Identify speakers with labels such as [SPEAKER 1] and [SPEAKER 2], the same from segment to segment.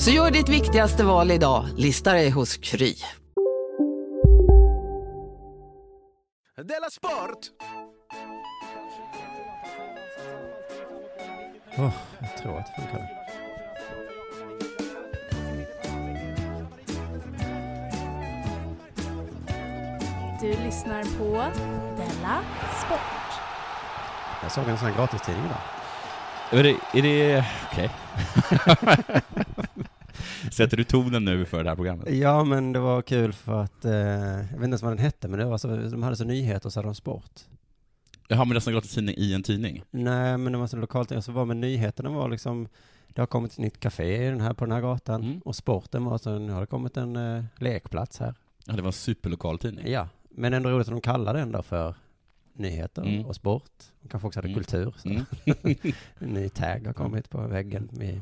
[SPEAKER 1] Så gör ditt viktigaste val idag, listar dig hos Kry.
[SPEAKER 2] Della Sport!
[SPEAKER 3] Åh, jag tror att det funkar.
[SPEAKER 4] Du lyssnar på Della Sport.
[SPEAKER 3] Jag såg en sån här gratistidning idag.
[SPEAKER 5] Är det, är det okej? Sätter du tonen nu för det här programmet?
[SPEAKER 3] Ja, men det var kul för att, eh, jag vet inte ens vad den hette, men det var så, de hade så nyheter och så hade de sport.
[SPEAKER 5] Jaha, men nästan gratis tidning i en tidning?
[SPEAKER 3] Nej, men det var så lokalt, jag så var med nyheterna var liksom, det har kommit ett nytt café i den här, på den här gatan,
[SPEAKER 5] Mm.
[SPEAKER 3] och sporten var så, nu har det kommit en eh, lekplats här.
[SPEAKER 5] Ja, det var en superlokal tidning.
[SPEAKER 3] Ja, men ändå roligt att de kallar den då för nyheter
[SPEAKER 5] Mm.
[SPEAKER 3] och sport. De kanske också hade
[SPEAKER 5] Mm.
[SPEAKER 3] kultur. Så.
[SPEAKER 5] Mm.
[SPEAKER 3] en ny tag har kommit på väggen. Med...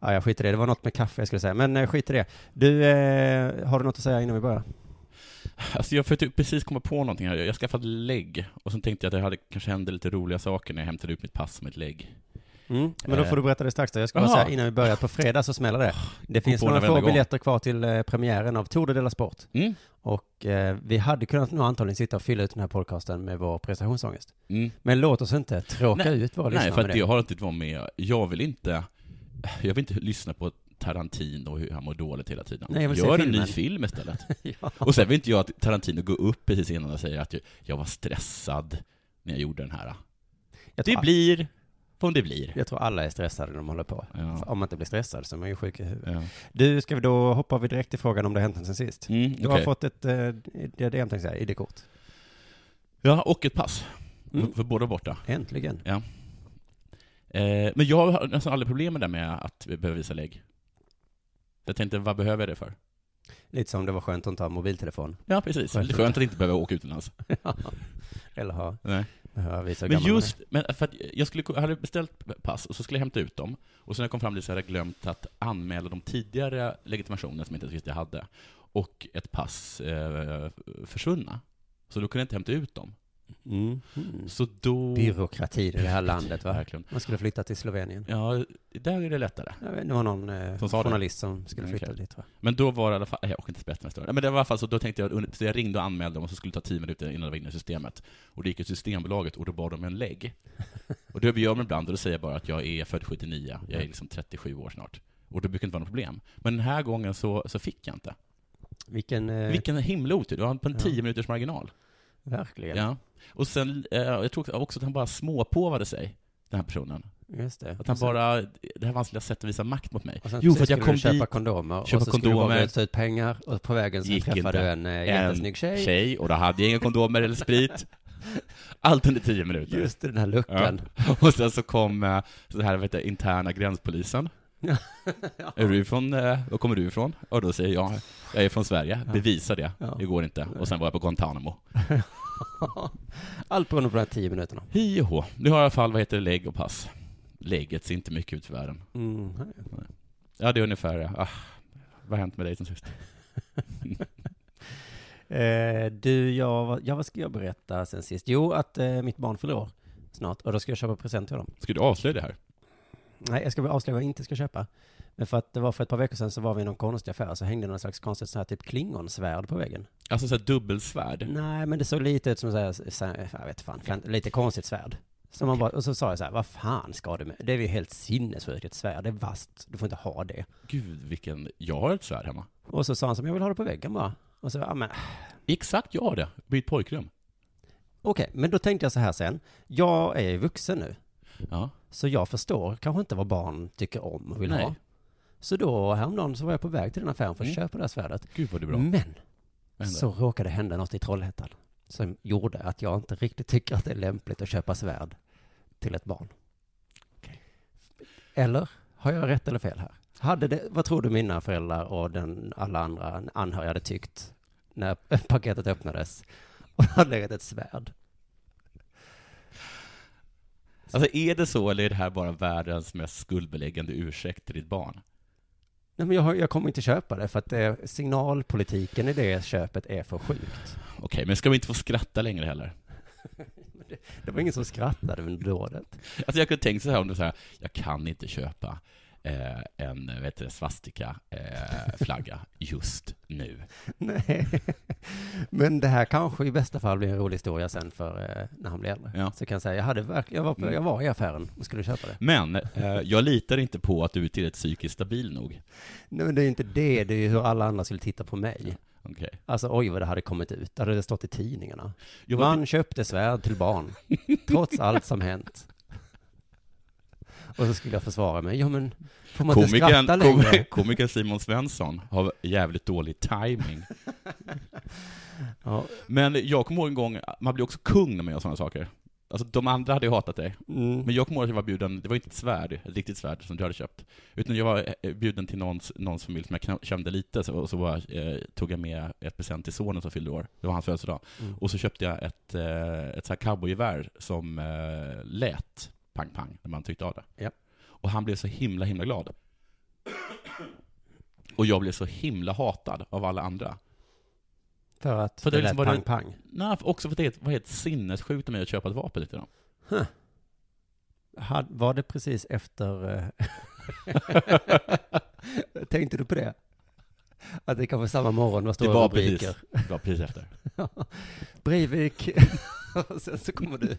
[SPEAKER 3] Ja, jag skiter i det. Det var något med kaffe jag skulle säga, men eh, skit i det. Du, eh, har du något att säga innan vi börjar?
[SPEAKER 5] Alltså jag försökte precis komma på någonting här. Jag skaffade lägg, och sen tänkte jag att det hade, kanske hände lite roliga saker när jag hämtade ut mitt pass med ett lägg.
[SPEAKER 3] Mm, men då
[SPEAKER 5] Eh.
[SPEAKER 3] får du berätta det strax då. Jag ska bara
[SPEAKER 5] Jaha.
[SPEAKER 3] säga innan vi börjar, på fredag så smäller det. Det finns
[SPEAKER 5] på
[SPEAKER 3] några
[SPEAKER 5] det
[SPEAKER 3] få
[SPEAKER 5] varenda gång.
[SPEAKER 3] biljetter kvar till eh, premiären av Tour de Della Sport.
[SPEAKER 5] Mm.
[SPEAKER 3] Och eh, vi hade kunnat nog antagligen sitta och fylla ut den här podcasten med vår prestationsångest.
[SPEAKER 5] Mm.
[SPEAKER 3] Men låt oss inte tråka
[SPEAKER 5] Nej.
[SPEAKER 3] ut våra
[SPEAKER 5] Nej,
[SPEAKER 3] lyssnare
[SPEAKER 5] för
[SPEAKER 3] med
[SPEAKER 5] att
[SPEAKER 3] det.
[SPEAKER 5] jag har inte varit med. Jag vill inte, jag vill inte lyssna på Tarantino och hur han mår dåligt hela tiden.
[SPEAKER 3] Nej, jag vill se
[SPEAKER 5] Gör en
[SPEAKER 3] filmen.
[SPEAKER 5] ny film istället.
[SPEAKER 3] Ja.
[SPEAKER 5] Och sen vill inte jag att Tarantino går upp precis innan och säger att jag- jag var stressad när jag gjorde den här.
[SPEAKER 3] Jag tror
[SPEAKER 5] Det blir vad det blir.
[SPEAKER 3] Jag tror alla är stressade när de håller på.
[SPEAKER 5] Ja.
[SPEAKER 3] För Om man inte blir stressad så är man ju sjuk i huvudet.
[SPEAKER 5] Ja.
[SPEAKER 3] Du, ska vi då hoppar vi direkt till frågan om det har hänt sen sist?
[SPEAKER 5] Mm,
[SPEAKER 3] Du har
[SPEAKER 5] okej.
[SPEAKER 3] fått ett eh, diadem, tänkte jag säga, ID-kort.
[SPEAKER 5] Ja, och ett pass.
[SPEAKER 3] Mm.
[SPEAKER 5] För båda borta.
[SPEAKER 3] Äntligen.
[SPEAKER 5] Eh, men jag har nästan aldrig problem med det med att behöva visa lägg. Jag tänkte, vad behöver jag det för?
[SPEAKER 3] Lite som det var skönt att inte ha mobiltelefon.
[SPEAKER 5] Ja, precis.
[SPEAKER 3] Skönt.
[SPEAKER 5] Skönt, skönt att inte behöva åka utomlands.
[SPEAKER 3] Eller ha,
[SPEAKER 5] Nej.
[SPEAKER 3] behöva visa hur
[SPEAKER 5] Men
[SPEAKER 3] gammal man är.
[SPEAKER 5] just, men för att jag skulle, jag hade beställt pass och så skulle jag hämta ut dem. Och sen när jag kom fram dit så hade jag glömt att anmäla de tidigare legitimationerna som jag inte visste jag hade. Och ett pass eh, försvunna. Så då kunde jag inte hämta ut dem.
[SPEAKER 3] Mm. Mm.
[SPEAKER 5] Så då...
[SPEAKER 3] Byråkratin i det här landet, va?
[SPEAKER 5] Verkligen.
[SPEAKER 3] Man skulle flytta till Slovenien.
[SPEAKER 5] Ja, där är det lättare.
[SPEAKER 3] Jag vet, Det var någon eh,
[SPEAKER 5] Som sa det. Mm,
[SPEAKER 3] journalist som skulle
[SPEAKER 5] Okej.
[SPEAKER 3] flytta dit, va?
[SPEAKER 5] Men då var det i alla fall, nej, jag orkar inte spetsa mig större. Nej, Men det var i alla fall så, då tänkte jag, under- så jag ringde och anmälde dem och så skulle det ta tio minuter innan det var inne i systemet. Och det gick till Systembolaget och då bad de en lägg. Och det gör man ibland och då säger jag bara att jag är född 79, jag är liksom 37 år snart. Och det brukar inte vara något problem. Men den här gången så, så fick jag inte.
[SPEAKER 3] Vilken, eh,
[SPEAKER 5] Vilken himla otur, det var på en
[SPEAKER 3] Ja.
[SPEAKER 5] 10 minuters marginal.
[SPEAKER 3] verkligen.
[SPEAKER 5] Ja. Och sen, eh, jag tror också att han bara småpåvade sig, den här personen.
[SPEAKER 3] Just det.
[SPEAKER 5] Att han
[SPEAKER 3] Och sen-
[SPEAKER 5] bara, det här var hans lilla sätt att visa makt mot mig.
[SPEAKER 3] Alltså. Och sen
[SPEAKER 5] Jo,
[SPEAKER 3] precis
[SPEAKER 5] för att jag
[SPEAKER 3] skulle
[SPEAKER 5] kom
[SPEAKER 3] du köpa
[SPEAKER 5] dit-
[SPEAKER 3] kondomer
[SPEAKER 5] köpa
[SPEAKER 3] och så skulle du bara
[SPEAKER 5] kondomer.
[SPEAKER 3] ösa ut pengar och på vägen så
[SPEAKER 5] Gick
[SPEAKER 3] träffade
[SPEAKER 5] inte.
[SPEAKER 3] du en eh, jättesnygg tjej.
[SPEAKER 5] tjej och då hade jag inga kondomer eller sprit. Allt under tio minuter.
[SPEAKER 3] Just i den här luckan.
[SPEAKER 5] Och sen så kom eh, så här, vet jag, interna gränspolisen.
[SPEAKER 3] Ja.
[SPEAKER 5] Är du ifrån, eh, var kommer du ifrån? Och då säger jag, jag är från Sverige, bevisa det.
[SPEAKER 3] Ja.
[SPEAKER 5] Det går inte. Och sen var jag på Guantanamo.
[SPEAKER 3] Allt beroende på de här tio minuterna.
[SPEAKER 5] Hi och hå. Nu har jag i alla fall, vad heter det, lägg och pass. Lägget ser inte mycket ut för världen.
[SPEAKER 3] Mm.
[SPEAKER 5] Ja, det är ungefär, eh, ah, vad har hänt med dig sen sist?
[SPEAKER 3] Eh, du, jag, vad- ja, vad ska jag berätta sen sist? Jo, att eh, mitt barn fyller år snart och då ska jag köpa present till honom.
[SPEAKER 5] Ska du avslöja det här?
[SPEAKER 3] Nej, jag ska väl avslöja vad jag inte ska köpa. Men för att det var för ett par veckor sedan så var vi i någon konstig affär så hängde någon slags konstigt så här typ klingonsvärd på väggen.
[SPEAKER 5] Alltså så här dubbelsvärd.
[SPEAKER 3] Nej, men det såg lite ut som så här, så här jag vet fan, fan, lite konstigt svärd. Så man bara, och så sa jag så här, vad fan ska du med? Det är ju helt sinnessjukt, ett svärd, det är vasst, du får inte ha det.
[SPEAKER 5] Gud, vilken, jag har ett svärd hemma.
[SPEAKER 3] Och så sa han som, jag vill ha det på väggen bara. Och så, ja men,
[SPEAKER 5] Exakt, jag har det. Mitt pojkrum.
[SPEAKER 3] okej, men då tänkte jag så här sen. Jag är ju vuxen nu,
[SPEAKER 5] Ja.
[SPEAKER 3] så jag förstår kanske inte vad barn tycker om och vill
[SPEAKER 5] Nej.
[SPEAKER 3] ha. Så då, häromdagen så var jag på väg till den affären för att
[SPEAKER 5] Mm.
[SPEAKER 3] köpa det här svärdet.
[SPEAKER 5] Gud vad det är bra.
[SPEAKER 3] Men,
[SPEAKER 5] Vad händer?
[SPEAKER 3] så råkade det hända något i Trollhättan som gjorde att jag inte riktigt tycker att det är lämpligt att köpa svärd till ett barn. Eller? Har jag rätt eller fel här? Hade det, vad tror du mina föräldrar och den, alla andra anhöriga hade tyckt när paketet öppnades och det hade legat ett svärd?
[SPEAKER 5] Alltså är det så, eller är det här bara världens mest skuldbeläggande ursäkt till ditt barn?
[SPEAKER 3] Nej, men jag, har- jag kommer inte köpa det för att eh, signalpolitiken i det köpet är för sjukt.
[SPEAKER 5] Okej, men ska vi inte få skratta längre heller?
[SPEAKER 3] Det var ingen som skrattade under dådet.
[SPEAKER 5] Alltså jag kunde tänkt så här om du säger, jag kan inte köpa eh, en vet du, svastika eh, flagga just nu.
[SPEAKER 3] Nej. Men det här kanske i bästa fall blir en rolig historia sen för eh, när han blir äldre.
[SPEAKER 5] Ja. Mm.
[SPEAKER 3] Så kan jag säga, jag, hade verkligen, jag, var på, jag var i affären och skulle köpa det.
[SPEAKER 5] Men eh, jag litar inte på att du är tillräckligt psykiskt stabil nog.
[SPEAKER 3] Nej men det är inte det, det är ju hur alla andra skulle titta på mig.
[SPEAKER 5] Okej.
[SPEAKER 3] Alltså oj vad det hade kommit ut, det hade det stått i tidningarna.
[SPEAKER 5] Jag var-
[SPEAKER 3] Man köpte svärd till barn, trots allt som hänt. Och så skulle jag försvara mig, ja men får man inte
[SPEAKER 5] Komikern,
[SPEAKER 3] skratta längre?
[SPEAKER 5] kom, komikern Simon Svensson har jävligt dålig timing.
[SPEAKER 3] Ja,
[SPEAKER 5] Men jag kommer ihåg en gång, man blir också kung när man gör sådana saker. Alltså de andra hade ju hatat dig.
[SPEAKER 3] mm.
[SPEAKER 5] Men jag kommer ihåg att jag var bjuden, det var inte ett svärd, ett riktigt svärd som du hade köpt, utan jag var eh, bjuden till någons, någons familj som jag kna- kände lite, så, och så var, jag, eh, tog jag med ett present till sonen som fyllde år, det var hans födelsedag.
[SPEAKER 3] Mm.
[SPEAKER 5] Och så köpte jag ett, eh, ett så här cowboygevär som eh, lät pang-pang när man tryckte av det.
[SPEAKER 3] Ja.
[SPEAKER 5] Och han blev så himla, himla glad. Och jag blev så himla hatad av alla andra.
[SPEAKER 3] För att
[SPEAKER 5] För det
[SPEAKER 3] det,
[SPEAKER 5] liksom
[SPEAKER 3] lät
[SPEAKER 5] var det-
[SPEAKER 3] pang-pang.
[SPEAKER 5] Nej, också för att det var helt sinnessjukt av mig att köpa ett vapen till dem.
[SPEAKER 3] Had- Var det precis efter... eh, Tänkte du på det? Att det kanske samma morgon var
[SPEAKER 5] Det
[SPEAKER 3] stora
[SPEAKER 5] var
[SPEAKER 3] rubriker.
[SPEAKER 5] precis, det var precis efter.
[SPEAKER 3] Breivik. Och Sen så kommer du.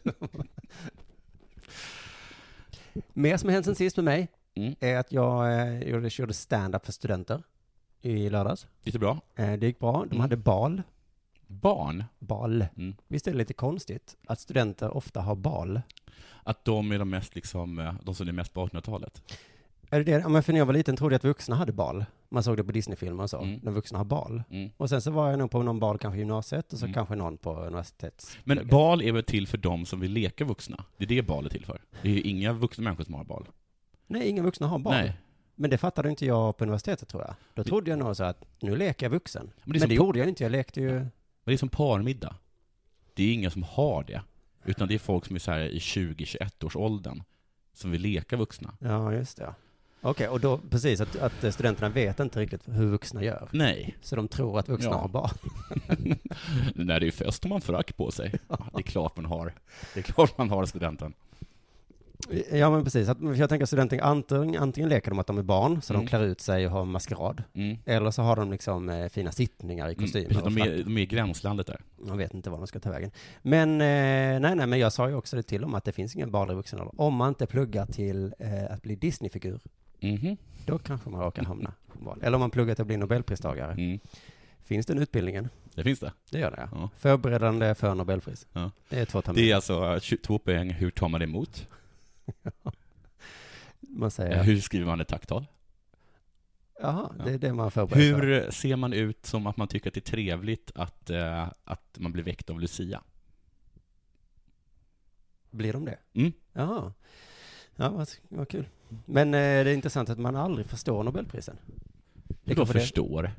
[SPEAKER 3] Mer som har hänt sen sist med mig
[SPEAKER 5] Mm.
[SPEAKER 3] är att jag eh, gjorde, körde stand-up för studenter i lördags.
[SPEAKER 5] Gick det bra?
[SPEAKER 3] Eh, det gick bra. De
[SPEAKER 5] Mm.
[SPEAKER 3] hade bal.
[SPEAKER 5] Barn?
[SPEAKER 3] Bal.
[SPEAKER 5] Mm.
[SPEAKER 3] Visst är det lite konstigt att studenter ofta har bal?
[SPEAKER 5] Att de är de mest liksom, eh, de som är mest på 1800-talet.
[SPEAKER 3] Är det det? Ja, men för när jag var liten trodde jag att vuxna hade bal. Man såg det på Disneyfilmer och så,
[SPEAKER 5] Mm.
[SPEAKER 3] när vuxna har bal.
[SPEAKER 5] Mm.
[SPEAKER 3] Och sen så var jag nog på någon bal, kanske i gymnasiet, och så
[SPEAKER 5] Mm.
[SPEAKER 3] kanske någon på universitets...
[SPEAKER 5] Men bal är väl till för de som vill leka vuxna? Det är det bal är till för. Det är ju inga vuxna människor som har bal.
[SPEAKER 3] Nej, inga vuxna har bal.
[SPEAKER 5] Nej.
[SPEAKER 3] Men det fattade inte jag på universitetet tror jag. Då trodde jag nog så att nu leker jag vuxen. Men
[SPEAKER 5] Men
[SPEAKER 3] det,
[SPEAKER 5] det är som på-
[SPEAKER 3] gjorde jag inte, jag lekte ju...
[SPEAKER 5] Men det är som parmiddag. Det är inga som har det. Utan det är folk som är så här i 20-21 års åldern som vill leka vuxna.
[SPEAKER 3] Ja, just det. ja. Okej, och då precis att, att studenterna vet inte riktigt hur vuxna gör.
[SPEAKER 5] Nej.
[SPEAKER 3] Så de tror att vuxna
[SPEAKER 5] Ja.
[SPEAKER 3] har bal.
[SPEAKER 5] När det är fest har man frack på sig. Ja, det är klart man har. Det är klart man har studenten.
[SPEAKER 3] Ja, men precis. Att, för jag tänker att studenter antingen, antingen leker de att de är barn, så
[SPEAKER 5] Mm.
[SPEAKER 3] de klär ut sig och har maskerad.
[SPEAKER 5] Mm.
[SPEAKER 3] Eller så har de liksom eh, fina sittningar i
[SPEAKER 5] Mm,
[SPEAKER 3] kostymer.
[SPEAKER 5] precis,
[SPEAKER 3] och
[SPEAKER 5] de,
[SPEAKER 3] frack.
[SPEAKER 5] är, de är i gränslandet där.
[SPEAKER 3] Man vet inte var de ska ta vägen. Men, eh, nej, nej, men jag sa ju också det till om att det finns ingen bal i vuxen ålder. Om man inte pluggar till eh, att bli Disney-figur,
[SPEAKER 5] Mhm.
[SPEAKER 3] då kanske man råkar hamna på bal. Eller om man pluggar till att bli Nobelpristagare.
[SPEAKER 5] Mm.
[SPEAKER 3] Finns den utbildningen?
[SPEAKER 5] Det finns det.
[SPEAKER 3] Det gör det,
[SPEAKER 5] Ja.
[SPEAKER 3] ja. Förberedande för Nobelpris.
[SPEAKER 5] Ja.
[SPEAKER 3] Det är två terminer.
[SPEAKER 5] Det är alltså eh, 22 poäng, hur tar man emot?
[SPEAKER 3] Man
[SPEAKER 5] Eh,
[SPEAKER 3] säger,
[SPEAKER 5] Hur skriver man ett tacktal?
[SPEAKER 3] jaha,
[SPEAKER 5] Ja.
[SPEAKER 3] det är det man förbereder för.
[SPEAKER 5] Hur ser man ut som att man tycker att det är trevligt att, eh, att man blir väckt av Lucia?
[SPEAKER 3] Blir de det?
[SPEAKER 5] Mm.
[SPEAKER 3] Jaha. Ja, vad, vad kul. Men eh, det är intressant att man aldrig förstår Nobelprisen.
[SPEAKER 5] Det
[SPEAKER 3] kanske
[SPEAKER 5] förstår.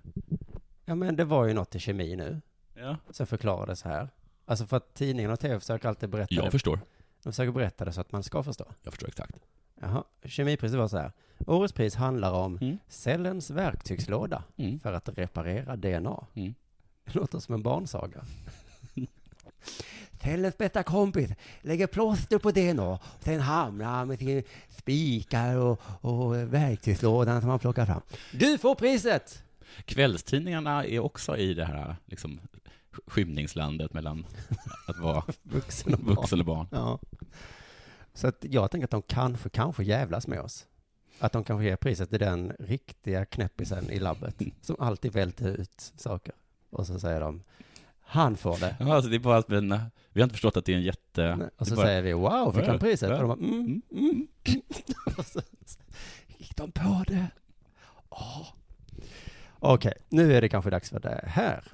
[SPEAKER 3] Ja, men det var ju något i kemi nu.
[SPEAKER 5] Ja.
[SPEAKER 3] Sen förklarades här. Alltså för att tidningarna och tv försöker alltid berätta
[SPEAKER 5] Jag
[SPEAKER 3] det.
[SPEAKER 5] förstår.
[SPEAKER 3] De försöker berätta det så att man ska förstå.
[SPEAKER 5] Jag förstår exakt.
[SPEAKER 3] Jaha, kemipriset var så här. Årets pris handlar om
[SPEAKER 5] Mm.
[SPEAKER 3] cellens verktygslåda
[SPEAKER 5] Mm.
[SPEAKER 3] för att reparera DNA.
[SPEAKER 5] Mm.
[SPEAKER 3] Det låter som en barnsaga. Cellens bästa kompis lägger plåster på DNA, sen hamrar han med sin spikar och, och verktygslådan som han plockar fram. Du får priset!
[SPEAKER 5] Kvällstidningarna är också i det här liksom, skymningslandet mellan att vara
[SPEAKER 3] Vuxen och barn.
[SPEAKER 5] vuxen och barn.
[SPEAKER 3] Ja. Så att jag tänker att de kanske, kanske jävlas med oss. Att de kanske ger priset till den riktiga knäppisen i labbet som alltid välter ut saker. Och så säger de, han får det.
[SPEAKER 5] Ja, alltså det är bara att men, vi har inte förstått att det är en jätte...
[SPEAKER 3] Nej, Och
[SPEAKER 5] det
[SPEAKER 3] så
[SPEAKER 5] är bara,
[SPEAKER 3] säger vi, wow, fick han
[SPEAKER 5] Ja,
[SPEAKER 3] priset?
[SPEAKER 5] ja.
[SPEAKER 3] Och de bara, mm, mm. Och så gick de på det. Åh. Okej, nu är det kanske dags för det här.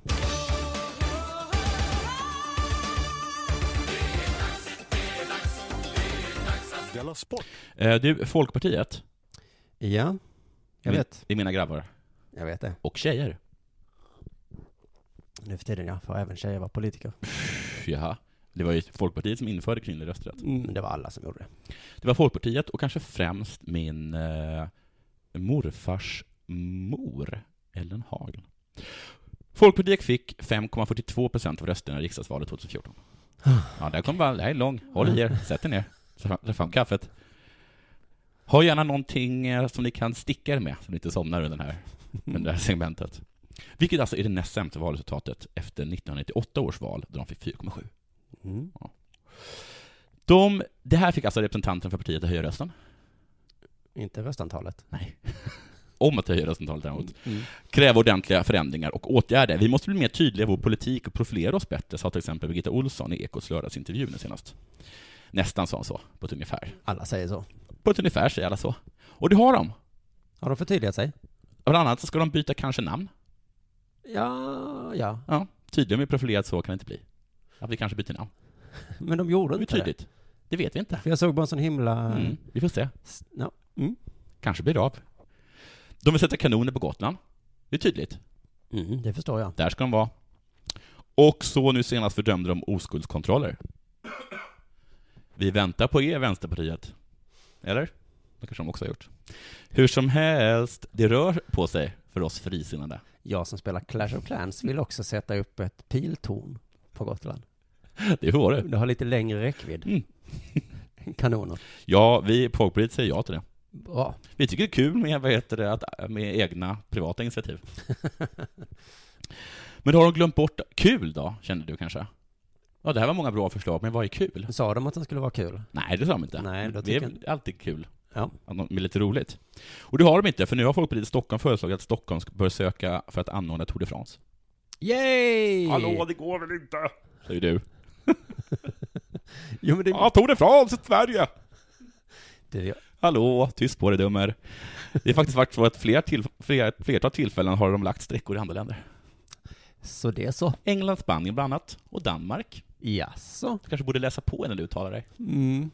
[SPEAKER 2] Della Sport!
[SPEAKER 5] eh, du, Folkpartiet,
[SPEAKER 3] Ja, jag
[SPEAKER 5] Vi-
[SPEAKER 3] vet.
[SPEAKER 5] det är mina grabbar.
[SPEAKER 3] Jag vet det.
[SPEAKER 5] Och tjejer.
[SPEAKER 3] Nu för tiden ja, får även tjejer vara politiker.
[SPEAKER 5] Pff, Jaha. Det var ju Folkpartiet som införde kvinnlig rösträtt.
[SPEAKER 3] Men det var alla som gjorde det.
[SPEAKER 5] Det var Folkpartiet och kanske främst min eh, morfars mor, Ellen Hagel. Folkpartiet fick 5,42 procent av rösterna i riksdagsvalet 2014. Ja, där kom bara, det här är lång. Håll i er, sätt er ner. Ta fram- Ta fram kaffet. Ha gärna någonting eh, som ni kan sticka er med, så ni inte somnar under, den här, under det här segmentet. Vilket alltså är det näst sämsta valresultatet efter 1998 års val, där de fick 4,7.
[SPEAKER 3] Mm.
[SPEAKER 5] De, det här fick alltså representanten för partiet att höja rösten.
[SPEAKER 3] Inte röstantalet.
[SPEAKER 5] Nej. Mm. Om att höja röstantalet däremot. Kräva ordentliga förändringar och åtgärder. Vi måste bli mer tydliga i vår politik och profilera oss bättre, sa till exempel Birgitta Olsson i Ekots lördagsintervju nu senast. Nästan sa hon så, på ett ungefär.
[SPEAKER 3] Alla säger så.
[SPEAKER 5] På ett ungefär säger alla så. Och det har de.
[SPEAKER 3] Har de förtydligat sig?
[SPEAKER 5] Bland annat så ska de byta kanske namn.
[SPEAKER 3] Ja, ja.
[SPEAKER 5] Ja, tydligare med profilerat så kan det inte bli. Att vi kanske byter namn.
[SPEAKER 3] Men de gjorde
[SPEAKER 5] Det blir
[SPEAKER 3] inte det.
[SPEAKER 5] tydligt. Det vet vi inte.
[SPEAKER 3] För jag såg bara en sån himla...
[SPEAKER 5] Mm, vi får se.
[SPEAKER 3] s- Ja. Mm.
[SPEAKER 5] Kanske blir det av. De vill sätta kanoner på Gotland. Det är tydligt.
[SPEAKER 3] Mm, det förstår jag.
[SPEAKER 5] Där ska de vara. Och så nu senast fördömde de oskuldskontroller. Vi väntar på er, Vänsterpartiet. Eller? Det kanske de också har gjort. Hur som helst, det rör på sig för oss frisinnade.
[SPEAKER 3] Jag som spelar Clash of Clans vill också sätta upp ett piltorn på Gotland.
[SPEAKER 5] Det får du.
[SPEAKER 3] Det har lite längre räckvidd.
[SPEAKER 5] Mm.
[SPEAKER 3] än Kanoner.
[SPEAKER 5] Ja, vi i Folkpartiet säger ja till det.
[SPEAKER 3] Bra.
[SPEAKER 5] Vi tycker det är kul med, vad heter det, att, med egna privata initiativ. Men då har de glömt bort, kul då, kände du kanske? Ja, det här var många bra förslag, men vad är kul?
[SPEAKER 3] Sa de att den skulle vara kul?
[SPEAKER 5] Nej, det sa de inte.
[SPEAKER 3] Nej, då
[SPEAKER 5] det är
[SPEAKER 3] tycker jag-
[SPEAKER 5] alltid kul.
[SPEAKER 3] Ja.
[SPEAKER 5] Att de är lite roligt. Och det har de inte, för nu har Folkpartiet i Stockholm föreslagit att Stockholm bör söka för att anordna Tour de France.
[SPEAKER 3] Yay!
[SPEAKER 5] det går väl inte? Säger du.
[SPEAKER 3] Jo, men det...
[SPEAKER 5] Ja, Tour de France i Sverige!
[SPEAKER 3] det
[SPEAKER 5] Hallå, tyst på dig dummer. Det har faktiskt varit så att fler till, fler, flertal tillfällen har de lagt sträckor i andra länder.
[SPEAKER 3] så det är så.
[SPEAKER 5] England, Spanien bland annat, och Danmark.
[SPEAKER 3] Jaså?
[SPEAKER 5] Du kanske borde läsa på innan du uttalar dig.
[SPEAKER 3] Mm.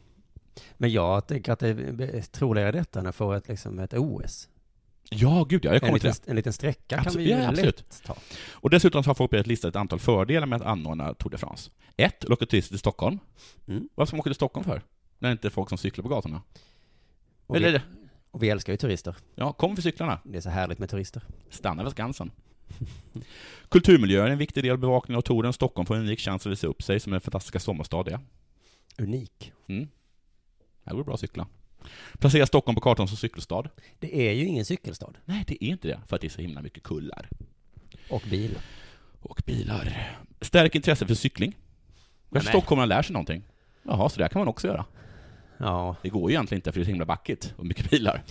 [SPEAKER 3] Men jag tänker att det är troligare detta än att få ett, liksom, ett OS.
[SPEAKER 5] Ja, gud ja, jag
[SPEAKER 3] En
[SPEAKER 5] kommer till
[SPEAKER 3] liten,
[SPEAKER 5] det.
[SPEAKER 3] en liten sträcka
[SPEAKER 5] Absolut,
[SPEAKER 3] kan vi ju
[SPEAKER 5] ja, absolut.
[SPEAKER 3] lätt ta.
[SPEAKER 5] Och dessutom så har Folkpartiet listat ett antal fördelar med att anordna Tour de France. Ett, locka turister till Stockholm.
[SPEAKER 3] Mm.
[SPEAKER 5] Varför ska man åka till Stockholm för? När det inte är folk som cyklar på gatorna.
[SPEAKER 3] Och
[SPEAKER 5] Eller,
[SPEAKER 3] vi, och vi älskar ju turister.
[SPEAKER 5] Ja, kom för cyklarna.
[SPEAKER 3] Det är så härligt med turister.
[SPEAKER 5] Stanna vid Skansen. Kulturmiljö är en viktig del av bevakningen av touren. Stockholm får en unik chans att visa upp sig som den fantastiska sommarstad det är.
[SPEAKER 3] Unik.
[SPEAKER 5] Mm. Här går det bra att cykla. Placera Stockholm på kartan som cykelstad.
[SPEAKER 3] Det är ju ingen cykelstad.
[SPEAKER 5] Nej, det är inte det, för att det är så himla mycket kullar.
[SPEAKER 3] Och bil.
[SPEAKER 5] Och bilar. Stärk intresset för cykling. Kanske stockholmarna lär sig någonting. Jaha, så där kan man också göra.
[SPEAKER 3] Ja,
[SPEAKER 5] Det går ju egentligen inte för det är så himla backigt och mycket bilar.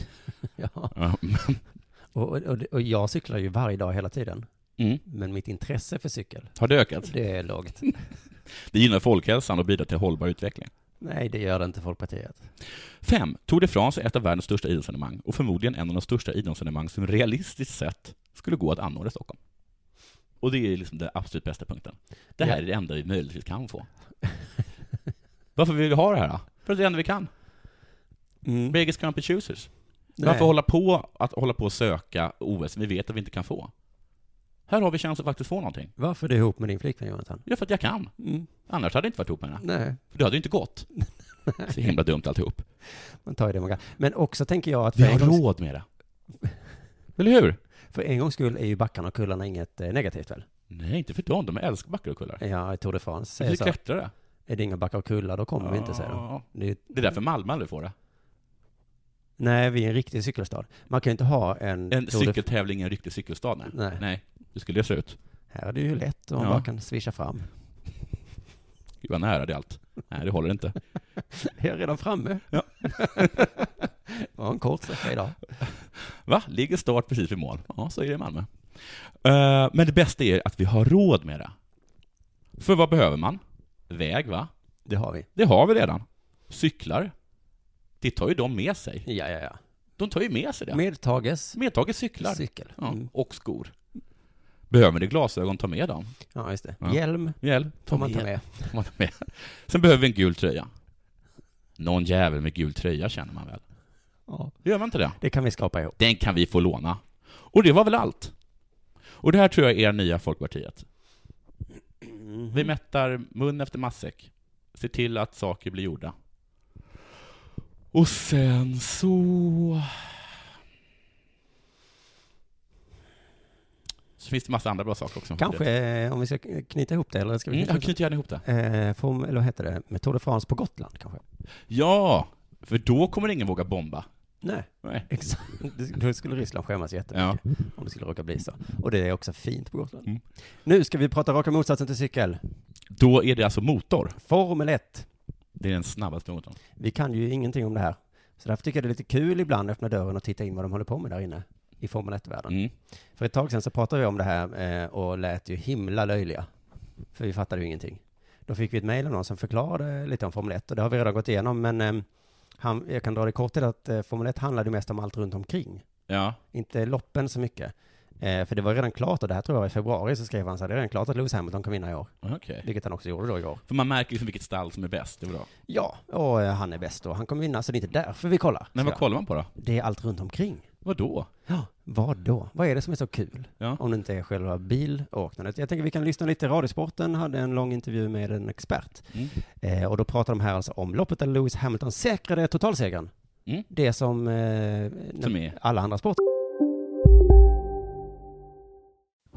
[SPEAKER 3] ja.
[SPEAKER 5] Ja, men-
[SPEAKER 3] Och, och, och- och jag cyklar ju varje dag hela tiden.
[SPEAKER 5] Mm.
[SPEAKER 3] Men mitt intresse för cykel,
[SPEAKER 5] Har det ökat?
[SPEAKER 3] det är lågt.
[SPEAKER 5] Det gynnar folkhälsan och bidrar till hållbar utveckling.
[SPEAKER 3] Nej, det gör det inte Folkpartiet.
[SPEAKER 5] 5. Tour de France är ett av världens största idrottsevenemang och förmodligen en av de största idrottsevenemang som realistiskt sett skulle gå att anordna i Stockholm. Och det är liksom den absolut bästa punkten. Det här
[SPEAKER 3] Ja.
[SPEAKER 5] är det enda vi möjligtvis kan få. Varför vill vi ha det här då? För att det är det enda vi kan.
[SPEAKER 3] Mm.
[SPEAKER 5] Biggest Grumpy Choosers.
[SPEAKER 3] Nej.
[SPEAKER 5] Varför hålla på att hålla på och söka OS vi vet att vi inte kan få? Här har vi chansen att faktiskt få någonting.
[SPEAKER 3] Varför är du ihop med din flickvän Jonathan?
[SPEAKER 5] Ja, för att jag kan.
[SPEAKER 3] Mm.
[SPEAKER 5] Annars hade jag inte varit ihop med henne.
[SPEAKER 3] Nej,
[SPEAKER 5] För det hade ju inte gått. Så himla dumt alltihop.
[SPEAKER 3] man tar ju det man kan. Men också tänker jag att
[SPEAKER 5] Vi
[SPEAKER 3] för
[SPEAKER 5] har
[SPEAKER 3] en, gångs,
[SPEAKER 5] råd med det. Eller hur?
[SPEAKER 3] för en gångs skull är ju backarna och kullarna inget eh, negativt väl?
[SPEAKER 5] Nej, inte för dem. De älskar backar och kullar.
[SPEAKER 3] Ja, i Tour de France
[SPEAKER 5] Det är
[SPEAKER 3] säger så.
[SPEAKER 5] klättrare.
[SPEAKER 3] Är det inga backar och kullar, då kommer vi inte, säger de.
[SPEAKER 5] Ja.
[SPEAKER 3] Det är,
[SPEAKER 5] Det är därför Malmö aldrig får det.
[SPEAKER 3] nej, vi är en riktig cykelstad. Man kan ju inte ha en...
[SPEAKER 5] En
[SPEAKER 3] Tour de-
[SPEAKER 5] cykeltävling i en riktig cykelstad, nej.
[SPEAKER 3] Nej.
[SPEAKER 5] Nej, det skulle det se ut.
[SPEAKER 3] Här är det ju lätt om
[SPEAKER 5] Ja.
[SPEAKER 3] man bara kan swisha fram.
[SPEAKER 5] Gud vad nära det är allt. Nej, det håller inte.
[SPEAKER 3] Jag är redan framme.
[SPEAKER 5] Ja.
[SPEAKER 3] det var en kort sträcka idag.
[SPEAKER 5] Va? Ligger start precis vid mål? Ja, så är det i Malmö. Eh, men det bästa är att vi har råd med det. För vad behöver man? Väg, va?
[SPEAKER 3] Det har vi.
[SPEAKER 5] Det har vi redan. Cyklar. Det tar ju de med sig.
[SPEAKER 3] Ja, ja, ja.
[SPEAKER 5] De tar ju med sig det.
[SPEAKER 3] Medtages.
[SPEAKER 5] Medtaget cyklar.
[SPEAKER 3] Cykel.
[SPEAKER 5] Ja.
[SPEAKER 3] Mm.
[SPEAKER 5] Och skor. Behöver ni glasögon, ta med dem.
[SPEAKER 3] Ja, just det.
[SPEAKER 5] Ja.
[SPEAKER 3] Hjälm
[SPEAKER 5] Hjälp,
[SPEAKER 3] får man ta med.
[SPEAKER 5] Får man ta med. Sen behöver vi en gul tröja. Någon jävel med gul tröja känner man väl?
[SPEAKER 3] Ja.
[SPEAKER 5] Gör man inte det?
[SPEAKER 3] Det kan vi skapa ihop.
[SPEAKER 5] Den kan vi få låna. Och det var väl allt. Och det här tror jag är nya Folkpartiet. Vi mättar mun efter matsäck. Ser till att saker blir gjorda. Och sen så... Så finns det massa andra bra saker också.
[SPEAKER 3] Kanske eh, om vi ska knyta ihop det, eller ska vi
[SPEAKER 5] Mm,
[SPEAKER 3] knyta
[SPEAKER 5] jag
[SPEAKER 3] ihop det?
[SPEAKER 5] knyter gärna ihop det.
[SPEAKER 3] Eh, form, eller vad heter det? Med Tour de France på Gotland kanske?
[SPEAKER 5] Ja! För då kommer ingen våga bomba.
[SPEAKER 3] Nej,
[SPEAKER 5] Nej.
[SPEAKER 3] exakt. Då skulle Ryssland skämmas jättemycket om det skulle råka bli så. Och det är också fint på Gotland.
[SPEAKER 5] Mm.
[SPEAKER 3] Nu ska vi prata raka motsatsen till cykel.
[SPEAKER 5] Då är det alltså motor.
[SPEAKER 3] Formel 1.
[SPEAKER 5] Det är den snabbaste motorn.
[SPEAKER 3] Vi kan ju ingenting om det här. Så därför tycker jag det är lite kul ibland att öppna dörren och titta in vad de håller på med där inne i Formel 1-världen.
[SPEAKER 5] Mm.
[SPEAKER 3] För ett tag sedan så pratade vi om det här eh, och lät ju himla löjliga. För vi fattade ju ingenting. Då fick vi ett mejl av någon som förklarade lite om Formel 1 och det har vi redan gått igenom men eh, han, jag kan dra det kort till att eh, Formel 1 handlade ju mest om allt runt omkring.
[SPEAKER 5] Ja.
[SPEAKER 3] Inte loppen så mycket. Eh, för det var redan klart och det här tror jag var i februari så skrev han så här, det är redan klart att Lewis Hamilton kan vinna i år.
[SPEAKER 5] Okej.
[SPEAKER 3] Vilket han också gjorde då igår.
[SPEAKER 5] För man märker liksom vilket stall som är bäst. Det är bra.
[SPEAKER 3] Ja, och eh, han är bäst och han kommer vinna så det är inte därför vi kollar.
[SPEAKER 5] Men
[SPEAKER 3] Så
[SPEAKER 5] vad kollar man på då?
[SPEAKER 3] Det är allt runt omkring.
[SPEAKER 5] Vad då?
[SPEAKER 3] Ja, vad då? Vad är det som är så kul?
[SPEAKER 5] Ja.
[SPEAKER 3] Om det inte är själva bilåkandet. Jag tänker vi kan lyssna lite. Radiosporten hade en lång intervju med en expert.
[SPEAKER 5] Mm.
[SPEAKER 3] Eh, och då pratar de här alltså om loppet där Lewis Hamilton säkrade totalsegern.
[SPEAKER 5] Mm.
[SPEAKER 3] Det som, eh,
[SPEAKER 5] Som är?
[SPEAKER 3] alla andra sporter.